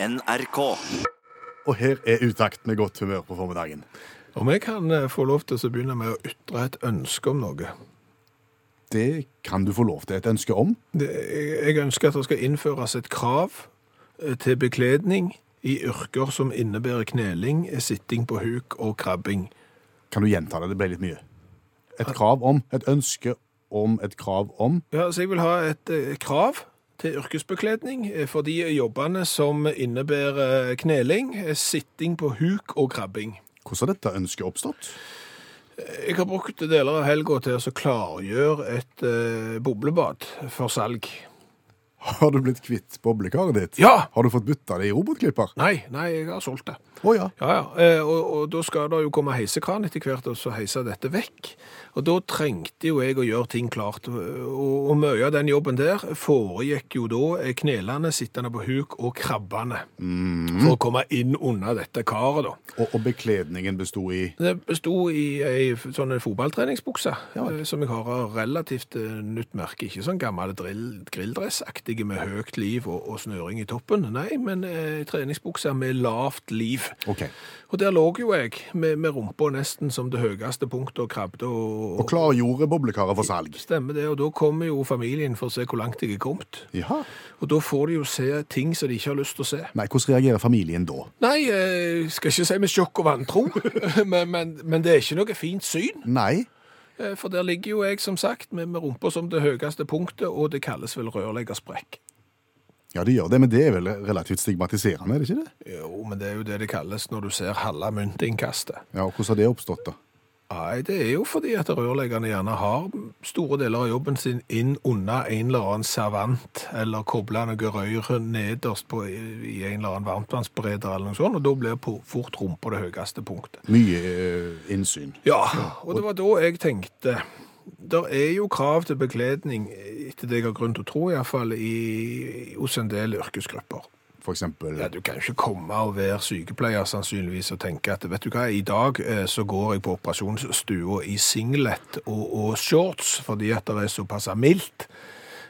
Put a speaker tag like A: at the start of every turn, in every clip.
A: NRK.
B: Og her er utakt med godt humør på formiddagen.
C: Om jeg kan eh, få lov til å begynne med å ytre et ønske om noe.
B: Det kan du få lov til et ønske om.
C: Det, jeg- jeg ønsker at det skal innføres et krav eh, til bekledning i yrker som innebærer kneling, sitting på huk og krabbing.
B: Kan du gjenta det? Det ble litt mye. Et krav om, et ønske om, et krav om.
C: Ja, så jeg vil ha et eh, krav til yrkesbekledning eh, for de jobbene som innebærer kneling, eh, sitting på huk og krabbing.
B: Hvordan har dette ønsket oppstått?
C: Jeg har brukt deler av helga til å så klargjøre et eh, boblebad for salg.
B: Har du blitt kvitt boblekaret ditt?
C: Ja!
B: Har du fått bytta det i robotklipper?
C: Nei, nei, jeg har solgt det.
B: Å ja.
C: Ja, ja. Eh, Og, og da skal det jo komme heisekran etter hvert, og så heise dette vekk. Og da trengte jo jeg å gjøre ting klart. Og, og mye av den jobben der foregikk jo da eh, knelende, sittende på huk og krabbende. For å komme inn under dette karet, da.
B: Og, og bekledningen besto i
C: Det besto i ei f- sånn en fotballtreningsbukse, eh, som jeg har av relativt eh, nytt merke. Ikke sånn gammel drill, grilldressaktige med høyt liv og, og snøring i toppen. Nei, men eh, treningsbukse med lavt liv.
B: OK.
C: Og der lå jo jeg, med, med rumpa nesten som det høyeste punktet og krabbet og,
B: Og klargjorde boblekaret for salg.
C: Stemmer det, og da kommer jo familien for å se hvor langt jeg er kommet.
B: Ja.
C: Og da får de jo se ting som de ikke har lyst til å se.
B: Nei, hvordan reagerer familien da?
C: Nei, jeg skal ikke si med sjokk og vantro, men, men, men det er ikke noe fint syn.
B: Nei.
C: Eh, For der ligger jo jeg, som sagt, med, med rumpa som det høyeste punktet, og det kalles vel rørleggersprekk.
B: Ja, de gjør det, men det er vel relativt stigmatiserende, er det ikke det?
C: Jo, men det er jo det det kalles når du ser halve myntinnkastet.
B: Ja, og Hvordan har det oppstått, da?
C: Nei, det er jo fordi at rørleggerne gjerne har store deler av jobben sin inn under en eller annen servant, eller kobler noe rør nederst på, i en eller annen varmtvannsbereder eller noe sånt, og da blir på, fort rumpa det høyeste punktet.
B: Mye eh, innsyn.
C: Ja, og det var da jeg tenkte der er jo krav til bekledning, etter det jeg har grunn til å tro, iallfall hos en del yrkesgrupper.
B: For eksempel.
C: Ja, Du kan jo ikke komme og være sykepleier sannsynligvis og tenke at vet du hva, i dag eh, så går jeg på operasjonsstua i singlet og, og shorts fordi at det er såpass mildt.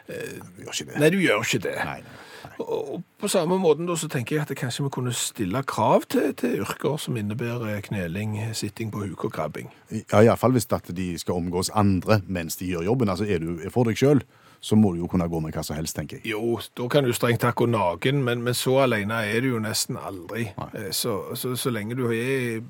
B: Du gjør ikke det.
C: Nei, du gjør ikke det.
B: Nei, nei.
C: Og og på samme måten da så tenker jeg at kanskje vi kunne stille krav til, til yrker som innebærer eh, kneling, sitting på huk og krabbing.
B: Ja, Iallfall hvis at de skal omgås andre mens de gjør jobben. Altså, Er du for deg sjøl, så må du jo kunne gå med hva som helst, tenker jeg.
C: Jo, da kan du strengt tatt gå naken, men, men så alene er du jo nesten aldri. Eh, Så, så, så lenge du er,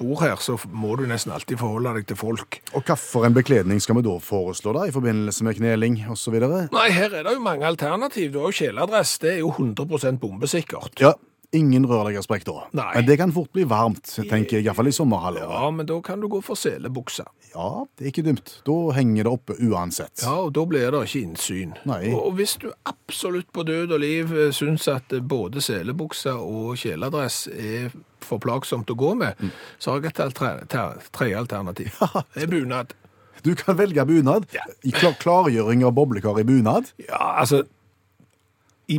C: bor her, så må du nesten alltid forholde deg til folk.
B: Og hvilken bekledning skal vi da foreslå da, i forbindelse med kneling osv.?
C: Nei, her er det jo mange alternativ. Du har jo kjeledress. Det er jo 100 bombesikkert.
B: Ja, ingen rørleggersprekk da.
C: Nei.
B: Men det kan fort bli varmt, tenker jeg, iallfall i sommerhalvåret.
C: Ja, men da kan du gå for selebukse.
B: Ja. det er ikke dumt. Da henger det oppe uansett.
C: Ja, og da blir det ikke innsyn.
B: Nei.
C: Og og hvis du absolutt på død og liv eh, syns at eh, både selebukse og kjeledress er for plagsomt å gå med, så har jeg et alter- ter- tredje alternativ. Det er bunad.
B: Du kan velge bunad. I klar klargjøring av boblekar i bunad.
C: Ja, altså I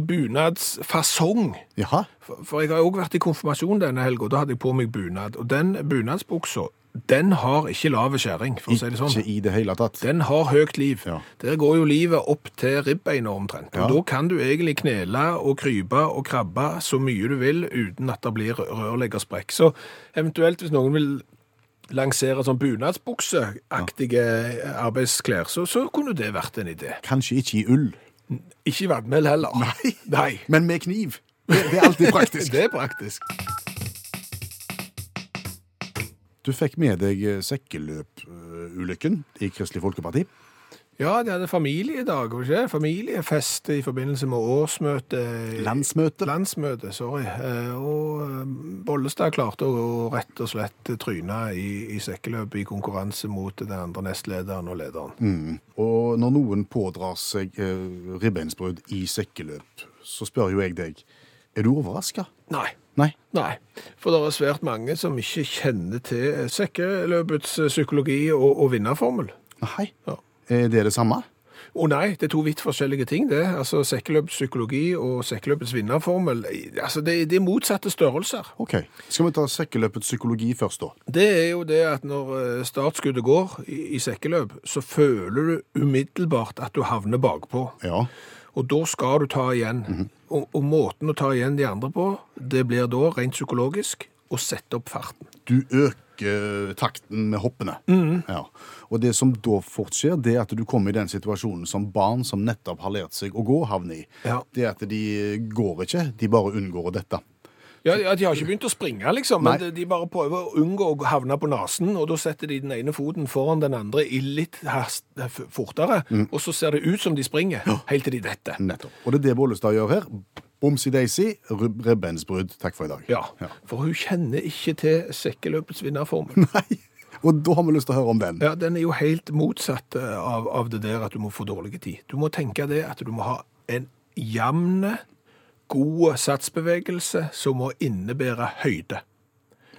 C: bunadsfasong.
B: Jaha.
C: For, for jeg har òg vært i konfirmasjon denne helga. Da hadde jeg på meg bunad. Og den bunadsbuksa, den har ikke lave skjæring, for å si det
B: Ikke
C: sånn.
B: i det hele tatt.
C: Den har høyt liv.
B: Ja.
C: Der går jo livet opp til ribbeina omtrent. Og
B: Ja.
C: da kan du egentlig knele og krype og krabbe så mye du vil uten at det blir rørleggersprekk. Så eventuelt hvis noen vil lansere sånn bunadsbukseaktige eh, arbeidsklær, så, så kunne det vært en idé.
B: Kanskje ikke i ull,
C: Ikke vadmel heller. Nei. Nei.
B: men med kniv. Det, det er alltid praktisk.
C: Det er praktisk.
B: Du fikk med deg eh, sekkeløpulykken i Kristelig Folkeparti.
C: Ja, de hadde familiedag, var det ikke? det? Familiefest i forbindelse med årsmøte.
B: Landsmøte.
C: Landsmøte, sorry. Eh, Og eh, Bollestad klarte å å rett og slett tryne i, i sekkeløp i konkurranse mot den andre nestlederen og lederen.
B: Mm. Og når noen pådrar seg eh, ribbeinsbrudd i sekkeløp, så spør jo jeg deg Er du overraska?
C: Nei.
B: Nei.
C: Nei, for det er svært mange som ikke kjenner til sekkeløpets eh, psykologi og, og vinnerformel.
B: Nei.
C: Ja.
B: Er det det samme?
C: Å nei, det er to vidt forskjellige ting, det. Altså Sekkeløpets psykologi og sekkeløpets vinnerformel eh, altså, det, det er motsatte størrelser.
B: OK. Skal vi ta sekkeløpets psykologi først, da?
C: Det er jo det at når eh, startskuddet går i, i sekkeløp, så føler du umiddelbart at du havner bakpå.
B: Ja.
C: Og da skal du ta igjen. og, og måten å ta igjen de andre på, det blir da rent psykologisk å sette opp farten.
B: Du øker eh, takten med hoppene. Ja. Og det som da fort skjer, det er at du kommer i den situasjonen som barn som nettopp har lært seg å gå, havner i.
C: Ja.
B: Det er at de går ikke, de bare unngår å dette.
C: Ja, ja, De har ikke begynt å springe, liksom, men
B: Nei.
C: de- de bare prøver å unngå å havne på nesen. og Da setter de den ene foten foran den andre i litt hast, eh, f- fortere, og så ser det ut som de springer, helt til de detter.
B: Nettopp. Og det er det Bollestad gjør her. Bomsi Daisy, rib- ribbensbrudd. Takk for i dag.
C: Ja, For hun kjenner ikke til sekkeløpets vinnerformel.
B: Nei. Og da har vi lyst til å høre om den.
C: Ja, Den er jo helt motsatt eh, av, av det der at du må få dårlig tid. Du må tenke det at du må ha en jevn, god satsbevegelse som må innebære høyde.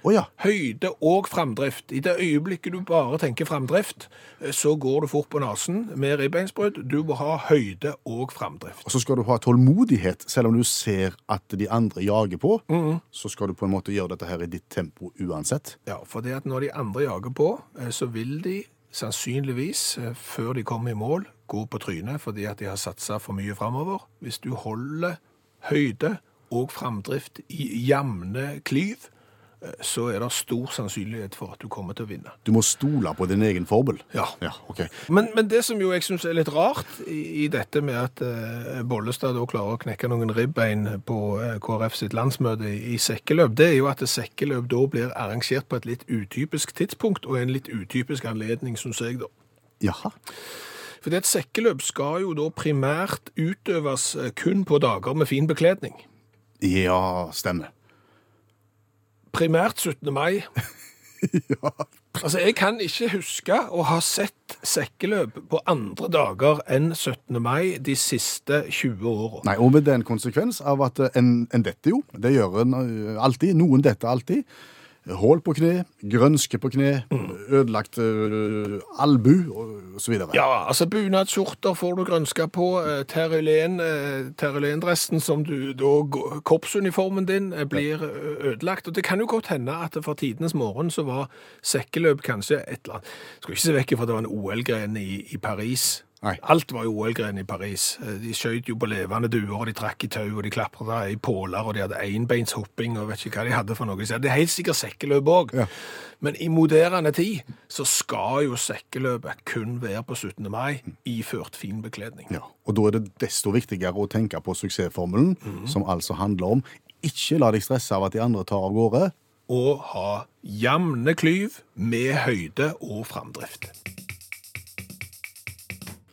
B: Å ja.
C: høyde og fremdrift. I det øyeblikket du bare tenker fremdrift, så går du fort på nasen med ribbeinsbrudd. Du må ha høyde og fremdrift.
B: Og så skal du ha tålmodighet, selv om du ser at de andre jager på. Så skal du på en måte gjøre dette her i ditt tempo uansett.
C: Ja, for det at når de andre jager på, eh, så vil de sannsynligvis, eh, før de kommer i mål, gå på trynet fordi at de har satsa for mye fremover. Hvis du holder høyde og fremdrift i jevne klyv, eh, så er det stor sannsynlighet for at du kommer til å vinne.
B: Du må stole på din egen forbel.
C: Ja.
B: ok.
C: Men, men det som jo jeg syns er litt rart i, i dette med at eh, Bollestad da klarer å knekke noen ribbein på eh, KrF sitt landsmøte i, i sekkeløp, det er jo at sekkeløp da blir arrangert på et litt utypisk tidspunkt og en litt utypisk anledning, syns jeg, da.
B: Jaha.
C: For et sekkeløp skal jo da primært utøves eh, kun på dager med fin bekledning.
B: Ja, stemmer.
C: Primært 17. mai.
B: ja.
C: Altså, jeg kan ikke huske å ha sett sekkeløp på andre dager enn 17. mai de siste 20 åra.
B: Nei, og med den konsekvens av at eh, en, en detter jo. Det gjør en ø, alltid. Noen detter alltid. Hål på kne, grønske på kne, ødelagt ø, albu og og så videre.
C: Ja, altså bunadsskjorter får du grønska på, eh, terrylen, eh, terylendressen som du da gå- Korpsuniformen din eh, blir eh, ødelagt. Og det kan jo godt hende at for tidenes morgen så var sekkeløp kanskje et eller annet Skal ikke se vekk ifra at det var en OL-gren i, i Paris.
B: Nei.
C: Alt var jo OL-gren i Paris. Eh, De skjøt jo på levende duer, og de trakk i tau, og de klapra i påler, og de hadde enbeinshopping og vet ikke hva de hadde for noe. Så det er helt sikkert sekkeløp òg.
B: Ja.
C: Men i moderne tid så skal jo sekkeløpet kun være på 17. mai, iført fin bekledning.
B: Ja, og da er det desto viktigere å tenke på suksessformelen, som altså handler om ikke la deg stresse av at de andre tar av gårde.
C: Og ha jevne klyv med høyde og framdrift.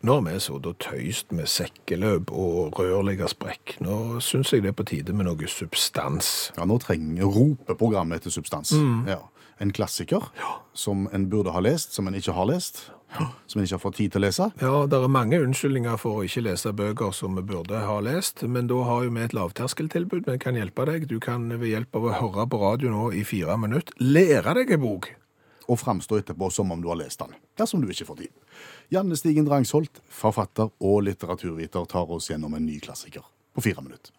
C: Når vi så da tøyst med sekkeløp og rørleggersprekk, nå syns jeg det er på tide med noe substans.
B: Ja, nå trenger rope programmet etter substans. Ja. En klassiker som en burde ha lest, som en ikke har lest, som en ikke har fått tid til å lese.
C: Ja, det er mange unnskyldninger for å ikke lese bøker som vi burde ha lest, men da har jo vi et lavterskeltilbud vi kan hjelpe deg. Du kan ved hjelp av å høre på radio nå i fire minutter lære deg en bok.
B: og framstå etterpå som om du har lest den, dersom du ikke får tid. Janne Stigen Drangsholt, forfatter og litteraturviter, tar oss gjennom en ny klassiker på fire minutter.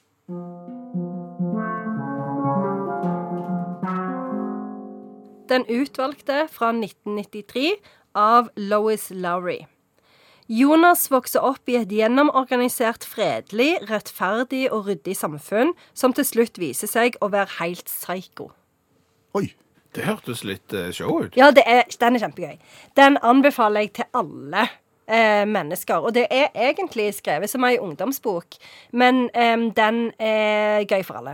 A: Den utvalgte fra 1993 av Lois Lowry. Jonas vokser opp i et gjennomorganisert, fredelig, rettferdig og ryddig samfunn, som til slutt viser seg å være helt psyko.
B: Oi,
C: Det hørtes litt eh, show ut.
A: Ja, det er, den er kjempegøy. Den anbefaler jeg til alle eh, mennesker. Og det er egentlig skrevet som ei ungdomsbok, men em, den er gøy for alle.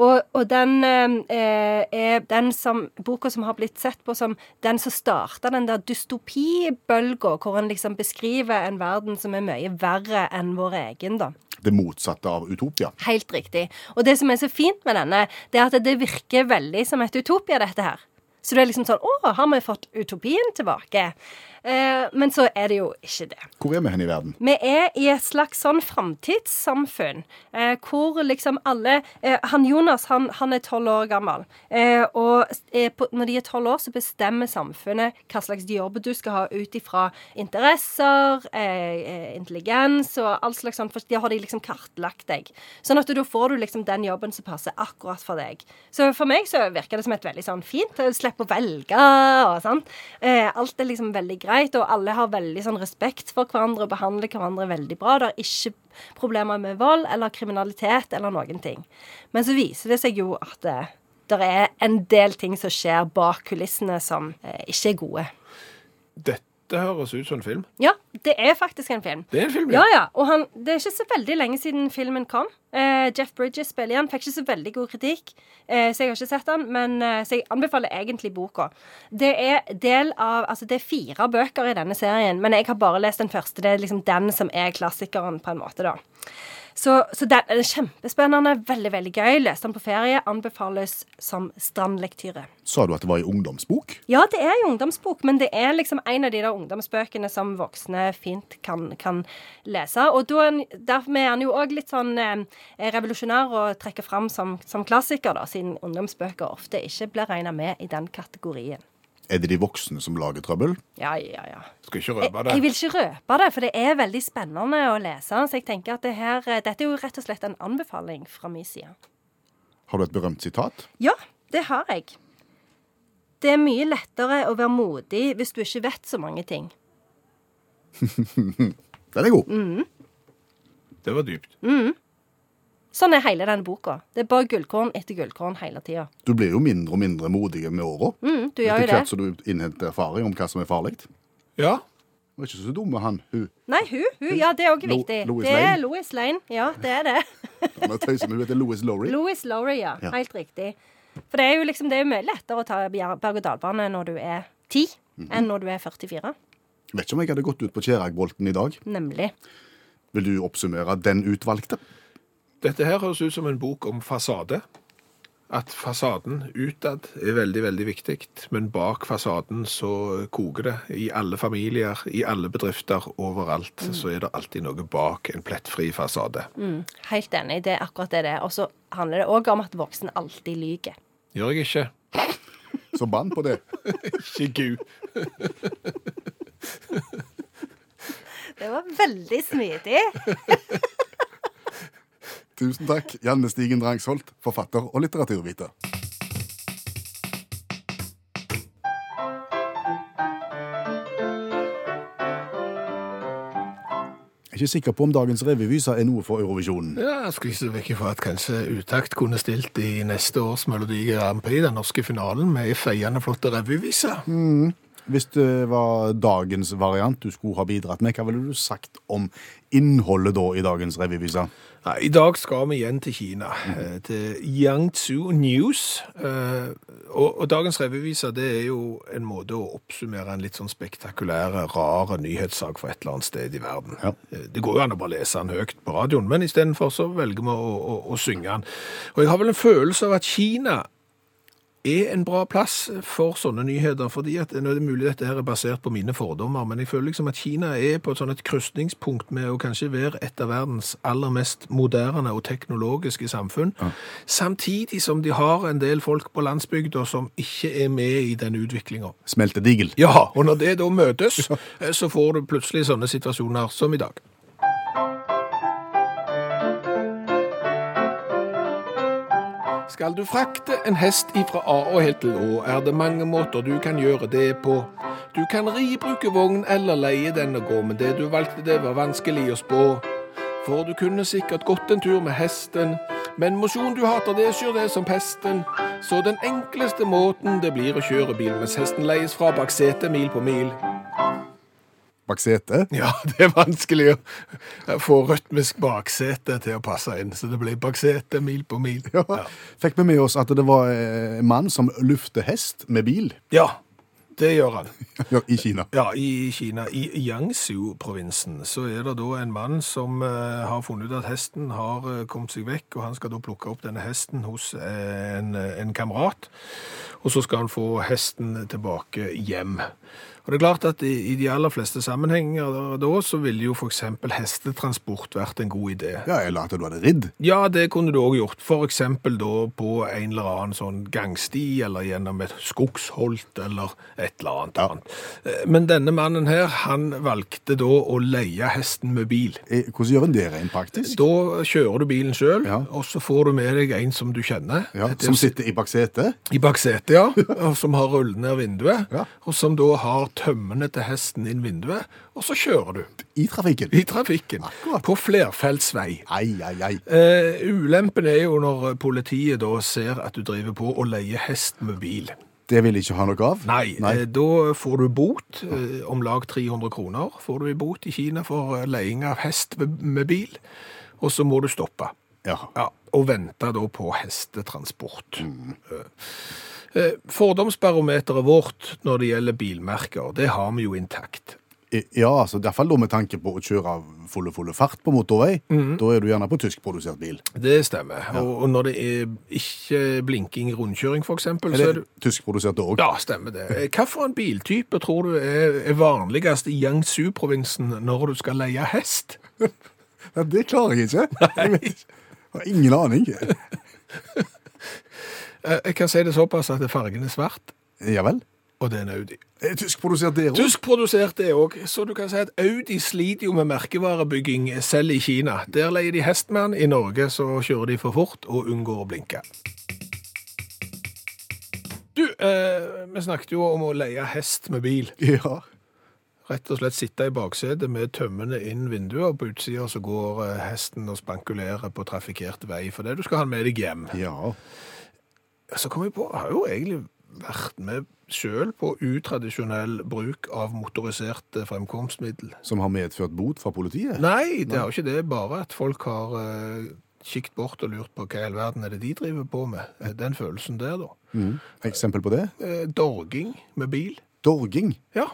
A: Og, og den em, eh, er den som, boka som har blitt sett på som den som starta den der dystopibølga, hvor en liksom beskriver en verden som er mye verre enn vår egen, da.
B: det motsatte av utopia.
A: Helt riktig. Og det som er så fint med denne, det er at det virker veldig som et utopia, dette her. Så det er liksom sånn Å, har vi fått utopien tilbake? Eh, men så er det jo ikke det.
B: Hvor er vi hen i verden?
A: Vi er i et slags sånn framtidssamfunn, eh, hvor liksom alle eh, Han Jonas, han, han er tolv år gammel. Eh, og eh, på, når de er tolv år, så bestemmer samfunnet hva slags jobb du skal ha ut ifra interesser, eh, eh, intelligens og all slags sånn. For da har de liksom kartlagt deg. Sånn at du- da får du liksom den jobben som passer akkurat for deg. Så for meg så virker det som et veldig sånn fint Du slipper å velge og sånn. Eh, alt er liksom veldig greit, og alle har veldig sånn respekt for hverandre og behandler hverandre veldig bra. Det er ikke problemer med vold eller kriminalitet eller noen ting. Men så viser det seg jo at det, der er en del ting som skjer bak kulissene som eh, ikke er gode.
C: Dette høres ut som en film.
A: Ja, det er faktisk en film.
C: Det er en film,
A: Ja, ja. Og han, det er ikke så veldig lenge siden filmen kom. Eh, Jeff Bridges spiller igjen. Fikk ikke så veldig god kritikk, eh, så jeg har ikke sett den. Men, eh, så jeg anbefaler egentlig boka. Det er del av, altså det er fire bøker i denne serien, men jeg har bare lest den første. Det er liksom den som er klassikeren, på en måte, da. Så, så den er kjempespennende. Veldig, veldig gøy. Leste den på ferie. Anbefales som strandlektyre.
B: Sa du at det var i ungdomsbok?
A: Ja, det er jo ungdomsbok, men det er liksom en av de der ungdomsbøkene som voksne fint kan, kan lese. Og da er den- dermed er han jo òg litt sånn eh, revolusjonær å trekke fram som, som klassiker, da, siden ungdomsbøker ofte ikke blir regna med i den kategorien.
B: Er det de voksne som lager trøbbel?
A: Ja, ja, ja.
C: Skal ikke
A: Jeg,
C: røpe det.
A: jeg vil ikke røpe det, for det er veldig spennende å lese. Så jeg tenker at det her, eh, dette er jo rett og slett en anbefaling fra min side.
B: Har du et berømt sitat?
A: Ja, det har jeg. Det er mye lettere å være modig hvis du ikke vet så mange ting.
B: Den er god.
A: Mm.
C: Det var dypt.
A: Sånn er hele den boka. Det er bare gullkorn etter gullkorn hele tida.
B: Du blir jo mindre og mindre modig med åra.
A: Mm, du gjør jo
B: Etter
A: det.
B: hvert som du innhenter erfaring om hva som er farlig.
C: Ja.
B: Du er ikke så dum med han, hun.
A: Nei, hun. hun ja, det er òg
B: Lo-
A: viktig.
B: Lois
A: det er
B: Lane.
A: Louis Lane. Ja, det er det.
B: Han er tøysen, hun heter Louis Lowry.
A: Louis Lowry, ja.
B: Ja.
A: Helt riktig. For det er jo liksom, det er jo mye lettere å ta bjer- berg-og-dal-bane når du er 10,
B: Mm.
A: enn når du er 44.
B: Vet ikke om jeg hadde gått ut på Kjeragbolten i dag.
A: Nemlig.
B: Vil du oppsummere den utvalgte?
C: Dette her høres ut som en bok om fasade. At fasaden utad er veldig, veldig viktig, men bak fasaden så koker det. I alle familier, i alle bedrifter, overalt så er det alltid noe bak en plettfri fasade.
A: Helt enig. Det er akkurat det det er. Og så handler det òg om at voksne alltid lyver.
C: Gjør jeg ikke?
B: Så bann på det.
C: Ikke gud.
A: Det var veldig smidig.
B: Tusen takk, Janne Stigen Drangsholt, forfatter og litteraturviter. Jeg er ikke sikker på om dagens revyvise er noe for Eurovisjonen.
C: Ja, jeg skulle ikke se vekk ifra at kanskje Utakt kunne stilt i neste års Melodi Grand Prix, den norske finalen, med en feiende flotte revyvise.
B: Hvis det var dagens variant du skulle ha bidratt med, hva ville du sagt om innholdet da i dagens revyvise?
C: Nei, I dag skal vi igjen til Kina, eh, til Yangtze News. Eh, Og, og dagens revyviser det er jo en måte å oppsummere en litt sånn spektakulær, rar nyhetssak fra et eller annet sted i verden.
B: Ja.
C: Eh, Det går jo an å bare lese den høyt på radioen, men istedenfor så velger vi å, å, å synge den. Og jeg har vel en følelse av at Kina er en bra plass for sånne nyheter, fordi at nå er det mulig dette her er basert på mine fordommer, men jeg føler liksom at Kina er på et sånn et krysningspunkt med å kanskje være et av verdens aller mest moderne og teknologiske samfunn, samtidig som de har en del folk på landsbygda som ikke er med i den utviklingen.
B: Smelte digel.
C: Ja, og når det da møtes, eh, så får du plutselig sånne situasjoner som i dag. Skal du frakte en hest ifra A og helt til Å, er det mange måter du kan gjøre det på. Du kan ri, bruke vogn eller leie den og gå, men det du valgte det var vanskelig å spå. For du kunne sikkert gått en tur med hesten, men mosjon du hater, det skyr det som pesten. Så den enkleste måten det blir å kjøre bil, mens hesten leies fra baksetet mil på mil.
B: Baksete.
C: Ja, det er vanskelig å få rytmisk baksete til å passe inn, så det blir baksete mil på mil.
B: Ja. Fikk vi med oss at det var eh, en mann som lufter hest med bil
C: Ja, det gjør han.
B: ja, i Kina.
C: Ja, i Kina, i Yangzhou-provinsen, så er det da en mann som eh, har funnet ut at hesten har eh, kommet seg vekk, og han skal da plukke opp denne hesten hos eh, en, en kamerat, og så skal han få hesten tilbake hjem. Og det er klart at i, i de aller fleste sammenhenger da, så ville jo for eksempel hestetransport vært en god idé.
B: Ja, eller at du hadde ridd.
C: Ja, det kunne du òg gjort. For eksempel da på en eller annen sånn gangsti, eller gjennom et skogsholt, eller et et eller annet annet. Eh, Men denne mannen her, han valgte da å leie hesten med bil.
B: Eh, Hvordan gjør en det rent praktisk?
C: Da kjører du bilen sjøl,
B: Ja.
C: og så får du med deg en som du kjenner.
B: Ja,
C: Det-
B: som sitter i baksetet?
C: I baksetet, ja. og Som har rullet ned vinduet.
B: Ja.
C: Og som da har tømmene til hesten inn vinduet. Og så kjører du.
B: I trafikken?
C: I trafikken.
B: Akkurat.
C: På flerfeltsvei.
B: Ai, ai, ai.
C: Eh, ulempen er jo når politiet da ser at du driver på og leier hest med bil.
B: Det vil jeg ikke ha noe av?
C: Nei, Eh, da får du bot. Eh, om lag 300 kroner får du i bot i Kina for eh, leiing av hest med- med bil. Og så må du stoppe.
B: Ja.
C: Ja, og venta da på hestetransport. Eh, Fordomsbarometeret vårt når det gjelder bilmerker, det har vi jo intakt.
B: I- ja, altså, i hvert fall da med tanke på å kjøre av fulle, fulle fart på motorvei.
C: Mhm.
B: Da er du gjerne på tyskprodusert bil.
C: Det stemmer. Og, og når det er ikke blinking i rundkjøring, for eksempel, så er
B: Eller
C: det
B: tyskprodusert òg.
C: ja, stemmer det. Eh, Hva for en biltype tror du er, er vanligst i Jiangsu-provinsen når du skal leie hest?
B: Ja, det klarer jeg ikke. Jeg vet- har ingen aning.
C: Eh, Jeg kan si det såpass at fargen er svart,
B: Ja vel.
C: og det er en Audi.
B: Er Tyskprodusert det òg?
C: Tyskprodusert det òg, så du kan si at Audi sliter jo med merkevarebygging selv i Kina. Der leier de hestmann, i Norge så kjører de for fort og unngår å blinke. Du, eh, vi snakket jo om å leie hest med bil.
B: Ja.
C: Rett og slett sitte i baksetet med tømmene inn vinduet, og på utsida så går eh, hesten og spankulerer på trafikkert vei for det du skal ha den med deg hjem.
B: ja.
C: Så kom jeg på, jeg har jo egentlig vært med sjøl på utradisjonell bruk av motoriserte fremkomstmiddel.
B: Som har medført bot fra politiet?
C: Nei, det har jo ikke det. Bare at folk har eh, kikt bort og lurt på hva i all verden er det de driver på med. Eh, Den følelsen der, da.
B: Mhm. Eksempel på det?
C: Eh, dorging med bil.
B: Dorging.
C: Ja.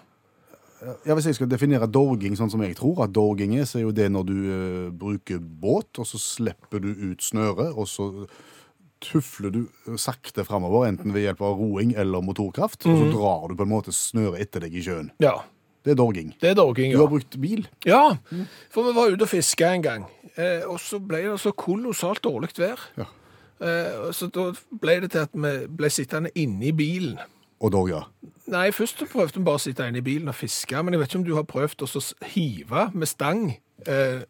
B: Ja, Hvis jeg skal definere dorging sånn som jeg tror at dorging er, så er jo det når du eh, bruker båt, og så slipper du ut snøret, og så tufler du sakte framover, enten ved hjelp av roing eller motorkraft,
C: Mhm.
B: og så drar du på en måte snøret etter deg i sjøen.
C: ja.
B: Det er dorging.
C: Det er dorging,
B: Du
C: ja.
B: har brukt bil.
C: Ja, For vi var ute og fiska en gang, eh, og så ble det så kolossalt dårlig vær.
B: Ja.
C: Eh, og så da ble det til at vi ble sittende inne i bilen.
B: Og dorga.
C: Nei, først så prøvde vi bare å sitte inne i bilen og fiske, men jeg vet ikke om du har prøvd å så s- hive med stang eh,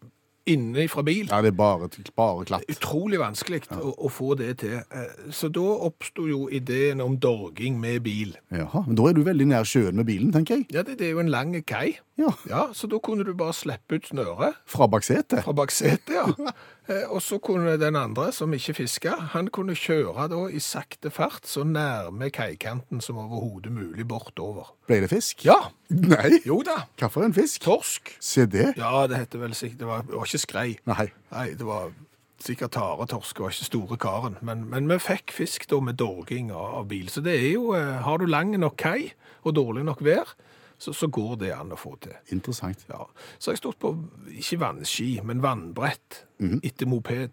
C: inne fra bil.
B: Ja, det er bare, bare klatt.
C: Utrolig vanskelig å, å få det til. Eh, Så da oppsto jo ideen om dorging med bil.
B: Jaha, men Da er du veldig nær sjøen med bilen, tenker jeg.
C: Ja, det, det er jo en lang kai.
B: Ja,
C: Ja, Så da kunne du bare slippe ut snøret
B: Fra baksetet.
C: fra baksetet, ja. Eh, Og så kunne den andre, som ikke fiska, han kunne kjøre da i sakte fart så nærme kaikanten som overhodet mulig bortover.
B: Ble det fisk?
C: Ja.
B: Nei.
C: Jo da.
B: Hva for en fisk?
C: Torsk.
B: Se det.
C: Ja, det heter vel sikkert Det var, det var ikke skrei.
B: Nei.
C: Nei, det var sikkert taretorsk, det var ikke store karen. Men, men vi fikk fisk da med dorging av, av bil. Så det er jo eh, Har du lang nok kai og dårlig nok vær, så, så går det an å få til.
B: Interessant.
C: Ja. Så har jeg stått på ikke vannski, men vannbrett etter moped.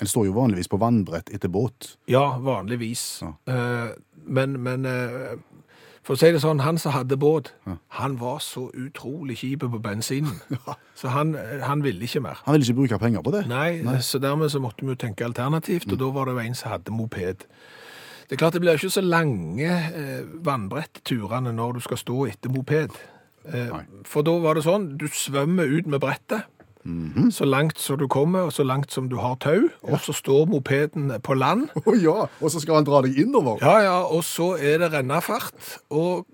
B: En står jo vanligvis på vannbrett etter båt.
C: Ja, vanligvis.
B: Ja.
C: Eh, men men eh, for å si det sånn, han som hadde båt, han var så utrolig kjip på bensinen. Så han, han ville ikke mer.
B: Han Mm. vil ikke bruke penger på det.
C: Nei, så dermed så måtte vi jo tenke alternativt, og da var det jo en som hadde moped. Det er klart det blir ikke så lange eh, vannbrettturene når du skal stå etter moped. Eh,
B: Nei.
C: for da var det sånn, du svømmer ut med brettet,
B: Mhm.
C: så langt som du kommer, og så langt som du har tau, og så står mopeden på land.
B: Å ja, og så skal han dra deg innover?
C: Ja, ja, og så er det rennafart, og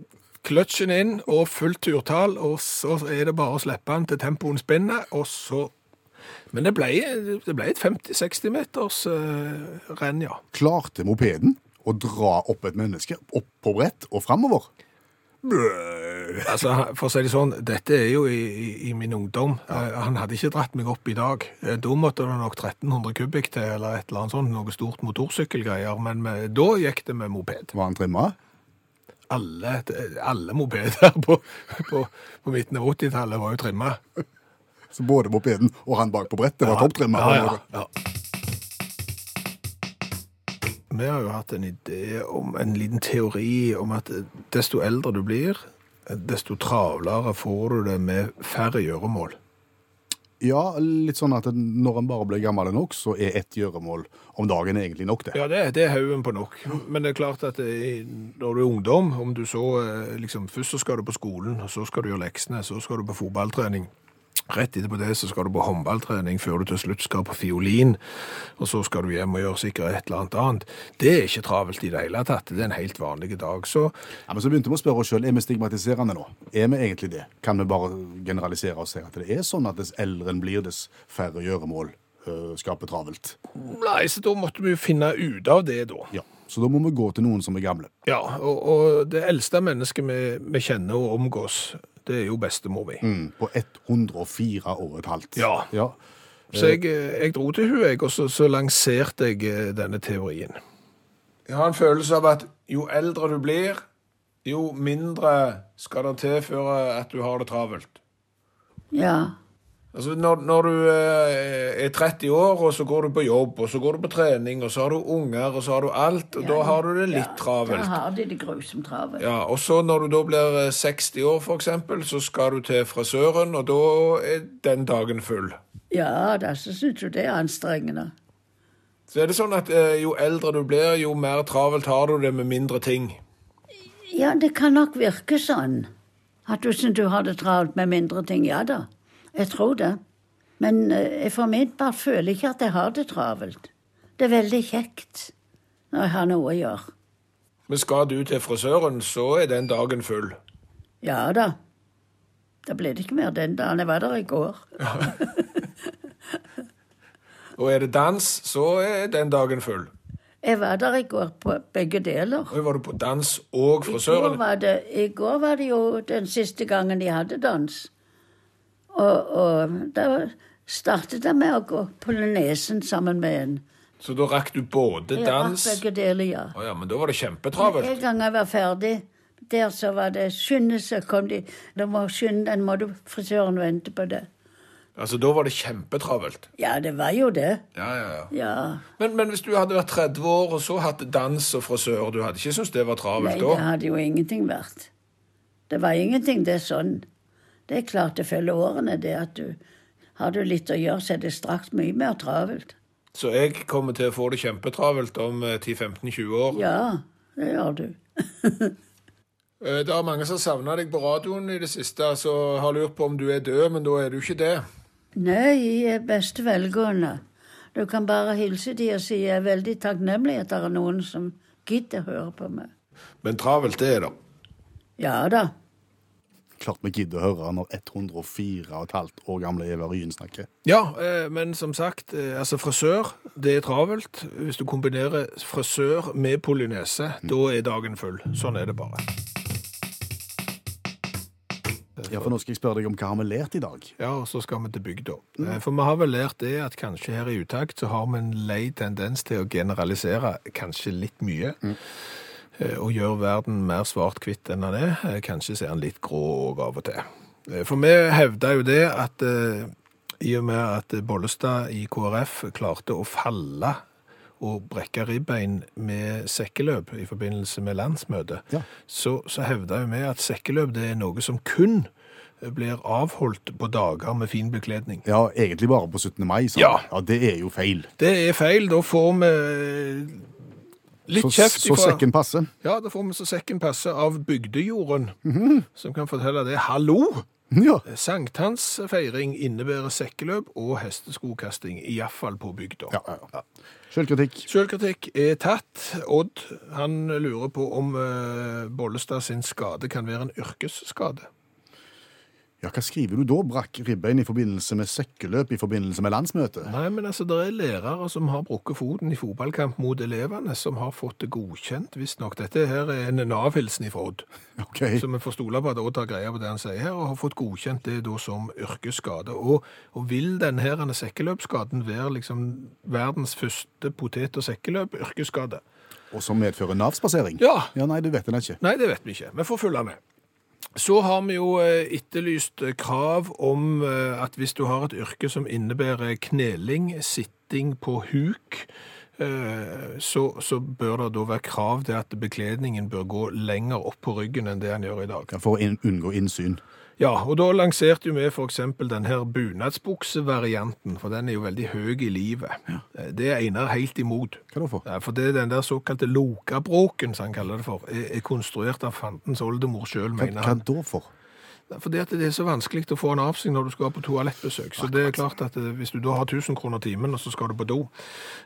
C: kløtsjen inn, og fullt turtal, og så er det bare å slippe den til tempoen spinner, og så men det ble, det ble et 50-60 meters eh, renn, ja.
B: Klarte mopeden å dra opp et menneske opp på brett og framover? Bø.
C: Altså, for å si det sånn, dette er jo i, i, i min ungdom. Eh, han hadde ikke dratt meg opp i dag. Eh, da måtte det nok 1300 kubikk til, eller et eller annet sånt, noe stort motorsykkelgreier. Men med, da gikk det med moped.
B: Var han trimma?
C: Alle, alle mopeder på, på, på midten av 80-tallet var jo trimma.
B: Så både mopeden og han bak på brettet var topptrimma?
C: Ja, ja, ja. Vi har jo hatt en idé om en liten teori om at desto eldre du blir, desto travlere får du det med færre gjøremål.
B: Ja, litt sånn at når en bare blir gammel nok, så er ett gjøremål om dagen egentlig nok, det.
C: Ja, det, det er haugen på nok. Men det er klart at det, når du er ungdom, om du så eh, liksom Først så skal du på skolen, og så skal du gjøre leksene, så skal du på fotballtrening. Rett etterpå det så skal du på håndballtrening, før du til slutt skal på fiolin. Og så skal du hjem og gjøre sikkert et eller annet annet. Det er ikke travelt i det hele tatt. Det er en helt vanlig dag. Så
B: Ja, men så begynte vi å spørre oss sjøl er vi stigmatiserende nå. Er vi egentlig det? Kan vi bare generalisere og si at det er sånn at dess eldre en blir, dess færre gjøremål øh, skaper travelt?
C: nei, så da måtte vi jo finne ut av det, da.
B: Ja. Så da må vi gå til noen som er gamle.
C: Ja, og, og det eldste mennesket vi, vi kjenner og omgås, det er jo bestemor mi.
B: Mm, på 104 år og et halvt.
C: Ja.
B: ja.
C: Så jeg, jeg dro til hun, jeg, og så, så lanserte jeg eh, denne teorien. Jeg har en følelse av at jo eldre du blir, jo mindre skal det tilføre at du har det travelt.
D: Ja.
C: Altså når, når du eh, er 30 år, og så går du på jobb, og så går du på trening, og så har du unger, og så har du alt, og da har du det litt
D: Da
C: travelt.
D: har de det grusomt travelt.
C: Ja, og så når du da blir eh, 60 år, for eksempel, så skal du til frisøren, og da er den dagen full.
D: Ja da, så syns jo det er anstrengende.
C: Så er det sånn at eh, jo eldre du blir, jo mer travelt har du det med mindre ting.
D: Ja, det kan nok virke sånn. At du syns du har det travelt med mindre ting. Ja da, jeg tror det. Men eh, jeg for min part føler ikke at jeg har det travelt. Det er veldig kjekt når jeg har noe å gjøre.
C: Men skal du til frisøren, så er den dagen full.
D: Ja da. Da ble det ikke mer den dagen. Jeg var der i går.
C: Og er det dans, så er den dagen full.
D: Jeg var der i går på begge deler.
C: Og var du på dans og
D: går
C: frisøren?
D: var det, I går var det jo den siste gangen de hadde dans. Og, og da startet jeg med å gå polynesen sammen med en.
C: Så da rakk du både
D: Jeg
C: dans
D: rakk Begge deler, ja.
C: Å ja, men da var det
D: En
C: kjempetravelt.
D: gang jeg var ferdig der, så var det skynde seg, kom de. Da må skynde den må du frisøren vente på det.
C: Altså, da var det kjempetravelt.
D: Ja, det var jo det.
C: Ja, ja, ja.
D: Ja.
C: Men, men hvis du hadde vært 30 år og så hatt dans og frisør, du hadde ikke syntes det var
D: Nei,
C: travelt
D: det
C: da?
D: hadde jo ingenting vært. Det var ingenting, det er sånn. Det er klart det følger årene, det at du Har du litt å gjøre, så er det straks mye mer travelt.
C: Så jeg kommer til å få det kjempetravelt om eh, 10-15-20 år.
D: Ja, det gjør du.
C: Eh, Det er mange som savner deg på radioen i det siste, så har lurt på om du er død, men da er du ikke det.
D: Nei, i beste velgående. Du kan bare hilse de og si jeg er veldig takknemlig at det er noen som gidder å høre på meg.
C: Men travelt, det er det.
D: Ja da.
B: Klart vi gidder å høre når 104 og et halvt år gamle Eva Ryen snakker.
C: Ja, eh, men som sagt, eh, altså frisør, det er travelt. Hvis du kombinerer frisør med polynese, da er dagen full. Sånn er det bare.
B: Ja, for nå skal jeg spørre deg om hva har vi lært i dag?
C: Ja, og så skal vi til bygda. Eh, For vi har vel lært det at kanskje her i utakt så har vi en lei tendens til å generalisere kanskje litt mye. eh, Og gjøre verden mer svart-hvitt enn den er. Eh, Kanskje ser den litt grå òg av og til. Eh, For vi hevda jo det at eh, i og med at Bollestad i KrF klarte å falle og brekke ribbein med sekkeløp i forbindelse med landsmøtet,
B: Ja.
C: så, så hevda jo vi at sekkeløp det er noe som kun blir avholdt på dager med fin bekledning.
B: Ja, egentlig bare på 17. mai. sa
C: Ja.
B: han. ja, det er jo feil.
C: Det er feil. Da får vi eh, litt
B: Så,
C: kjeft
B: så sekken passer.
C: Ja, da får vi så sekken passe av bygdejorden, som kan fortelle det. Hallo!
B: Ja.
C: Sankthansfeiring innebærer sekkeløp og hesteskokasting, iallfall på bygda.
B: Ja, ja, ja. Selvkritikk.
C: Selvkritikk er tatt. Odd han lurer på om eh, Bollestad sin skade kan være en yrkesskade.
B: Ja, hva skriver du da? Brakk ribbein i forbindelse med sekkeløp i forbindelse med landsmøtet?
C: Nei, men altså, det er lærere som har brukket foten i fotballkamp mot elevene, som har fått det godkjent, visstnok. Dette her er en Nav-hilsen ifra Odd.
B: Ok.
C: Så vi får stole på at Odd har greie på det han sier her, og har fått godkjent det da som yrkesskade. Og, og vil denne her sekkeløpsskaden være liksom verdens første potet- og sekkeløp-yrkesskade?
B: Og som medfører Nav-spasering?
C: Ja.
B: Ja, Nei, det vet en ikke.
C: Nei, det vet vi ikke. Vi får følge med. Så har vi jo eh, etterlyst eh, krav om eh, at hvis du har et yrke som innebærer kneling, sitting på huk, eh, så, så bør det da være krav til at bekledningen bør gå lenger opp på ryggen enn det han gjør i dag.
B: For å inn- unngå innsyn.
C: Ja, og da lanserte jo vi for eksempel den her bunadsbuksevarianten, for den er jo veldig høy i livet. Eh, Det er Einar helt imot.
B: Hva da for?
C: Ja, for det er den der såkalte lokabråken, som han kaller det for, er, er konstruert av fandens oldemor sjøl,
B: Hva,
C: mener
B: hva
C: han.
B: da for?
C: Fordi at det er så vanskelig å få den av seg når du skal på toalettbesøk. Så det er klart at eh, hvis du da har 1000 kroner timen, og så skal du på do.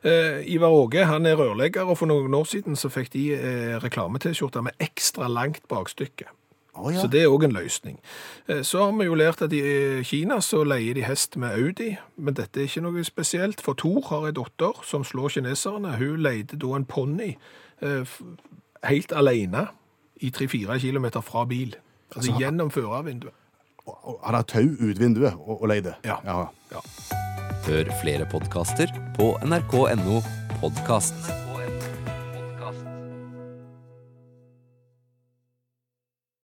C: Eh, Ivar Åge han er rørlegger, og for noen år siden så fikk de eh, reklame-T-skjorter med ekstra langt bakstykke.
B: Å ja.
C: Så det er òg en løsning. Eh, Så har vi jo lært at i eh, Kina så leier de hest med Audi, men dette er ikke noe spesielt. For Thor har ei datter som slår kineserne. Hun leide da en ponni eh, helt alene i tre-fire kilometer fra bil. Altså, gjennom førervinduet.
B: Og- og Han har tau ut vinduet og, og leide.
C: Ja.
B: ja.
C: Ja.
E: Hør flere podkaster på nrk.no podkast.